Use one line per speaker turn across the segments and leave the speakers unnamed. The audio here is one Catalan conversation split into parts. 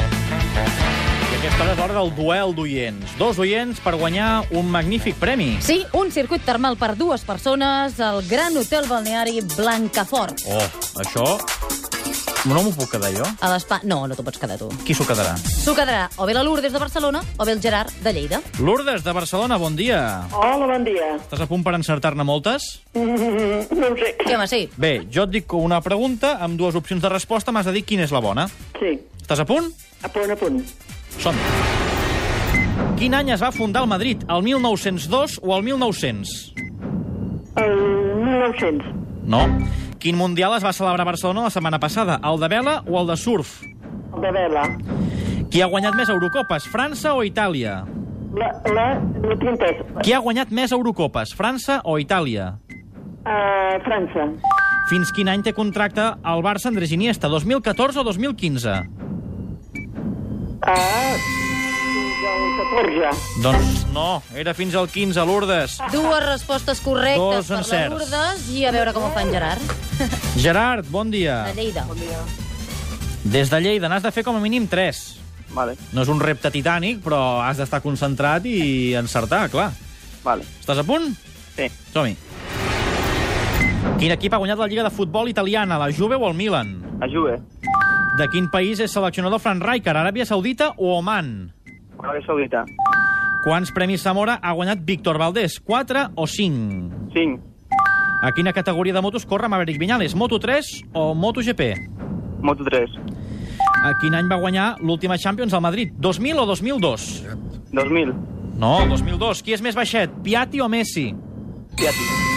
I aquesta hora és l'hora del duel d'oients. Dos oients per guanyar un magnífic premi.
Sí, un circuit termal per dues persones al Gran Hotel Balneari Blancafort.
Oh, això... No m'ho puc quedar jo?
A l'espa... No, no t'ho pots quedar tu.
Qui s'ho quedarà?
S'ho quedarà o bé la Lourdes de Barcelona o bé el Gerard de Lleida.
Lourdes, de Barcelona, bon dia.
Hola, bon dia.
Estàs a punt per encertar-ne moltes?
Mm, No ho sé.
Sí, home, sí.
Bé, jo et dic una pregunta amb dues opcions de resposta. M'has de dir quina és la bona.
Sí,
Estàs a punt?
a punt, a punt.
som -hi. Quin any es va fundar el Madrid? El 1902 o el 1900?
El 1900.
No. Quin mundial es va celebrar a Barcelona la setmana passada? El de vela o el de surf?
El de vela.
Qui ha guanyat més Eurocopes, França o Itàlia?
La, la, la trintes.
Qui ha guanyat més Eurocopes, França o Itàlia?
Uh, França.
Fins quin any té contracte el Barça Andrés Iniesta, 2014 o 2015?
Uh, fins al 14.
Doncs no, era fins al 15, Lourdes.
Dues respostes correctes
Dos
per la
encerts.
Lourdes i a veure com ho fa en Gerard.
Gerard, bon dia.
De Lleida.
Des de Lleida n'has de fer com a mínim 3.
Vale,
No és un repte titànic, però has d'estar concentrat i encertar, clar.
vale.
Estàs a punt?
Sí,
Som-hi. Quin equip ha guanyat la Lliga de Futbol Italiana, la Juve o el Milan?
a Juve,
De quin país és seleccionador Fran Rijkaard, Aràbia Saudita o Oman?
Aràbia Saudita.
Quants premis Zamora ha guanyat Víctor Valdés, 4 o 5?
5.
A quina categoria de motos corre Maverick Viñales, Moto3 o MotoGP?
Moto 3.
A quin any va guanyar l'última Champions al Madrid, 2000 o 2002?
2000.
No, 2002. Qui és més baixet, Piatti o Messi?
Piatti.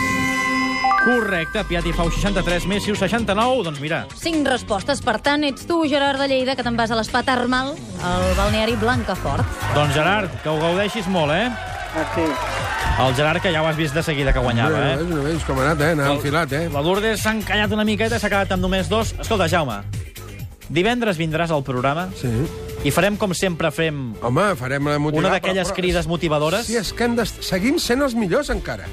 Correcte, Piatti fa un 63, Messi un 69, doncs mira.
Cinc respostes. Per tant, ets tu, Gerard de Lleida, que te'n vas a l'espa termal al balneari Blancafort.
Doncs Gerard, que ho gaudeixis molt, eh?
Merci.
El Gerard, que ja ho has vist de seguida que guanyava,
Bueno,
eh?
més o menys com ha anat, eh? Anava enfilat, eh?
La Lourdes s'ha encallat una miqueta, s'ha quedat amb només dos. Escolta, Jaume, divendres vindràs al programa
Sí.
i farem com sempre fem
Home, farem la motivar...
una d'aquelles
però- però-
crides motivadores.
Sí, és que hem de... seguim sent els millors encara.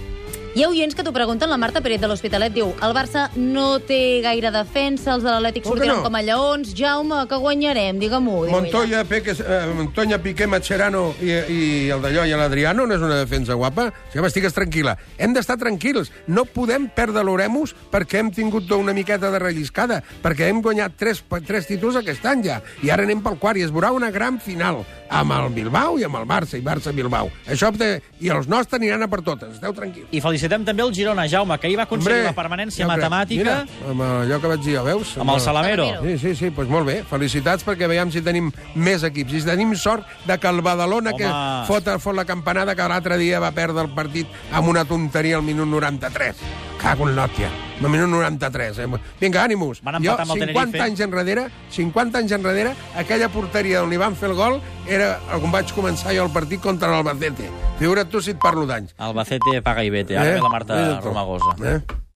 Hi ha oients que t'ho pregunten, la Marta Pérez de l'Hospitalet diu el Barça no té gaire defensa, els de l'Atlètic
Com que
sortiran
no?
com a lleons. Jaume, que guanyarem, digue-m'ho. diu ella.
Montoya, Peque, eh, Montoya, Piqué, Macherano i, i el d'allò i l'Adriano no és una defensa guapa? O sigui, home, estigues tranquil·la. Hem d'estar tranquils. No podem perdre l'Oremus perquè hem tingut una miqueta de relliscada, perquè hem guanyat tres, tres títols aquest any ja. I ara anem pel quart i es veurà una gran final amb el Bilbao i amb el Barça, i Barça-Bilbao. Això, de- i els nostres aniran a per totes. Esteu tranquils.
I felicitem també el Girona, Jaume, que ahir va aconseguir la permanència
ja ho crec.
matemàtica
Mira, amb allò que vaig dir, ja veus?
amb el Salamero.
Salamero.
Sí, sí, sí, doncs molt bé. Felicitats perquè veiem si tenim més equips. Si tenim sort de que el Badalona,
Home.
que fot, fot la campanada, que l'altre dia va perdre el partit amb una tonteria al minut 93. Cago en l'òtia. Al minut 93. Eh? Vinga, ànimos.
Van empatar amb el
50
Tenerife.
anys enrere, 50 anys enrere, aquella porteria on li van fer el gol era on vaig començar jo el partit contra l'Albacete. Figura't tu si et parlo d'anys.
Albacete paga i vete. Ara ve la Marta
Eh? Mira tu.
Romagosa.
Eh?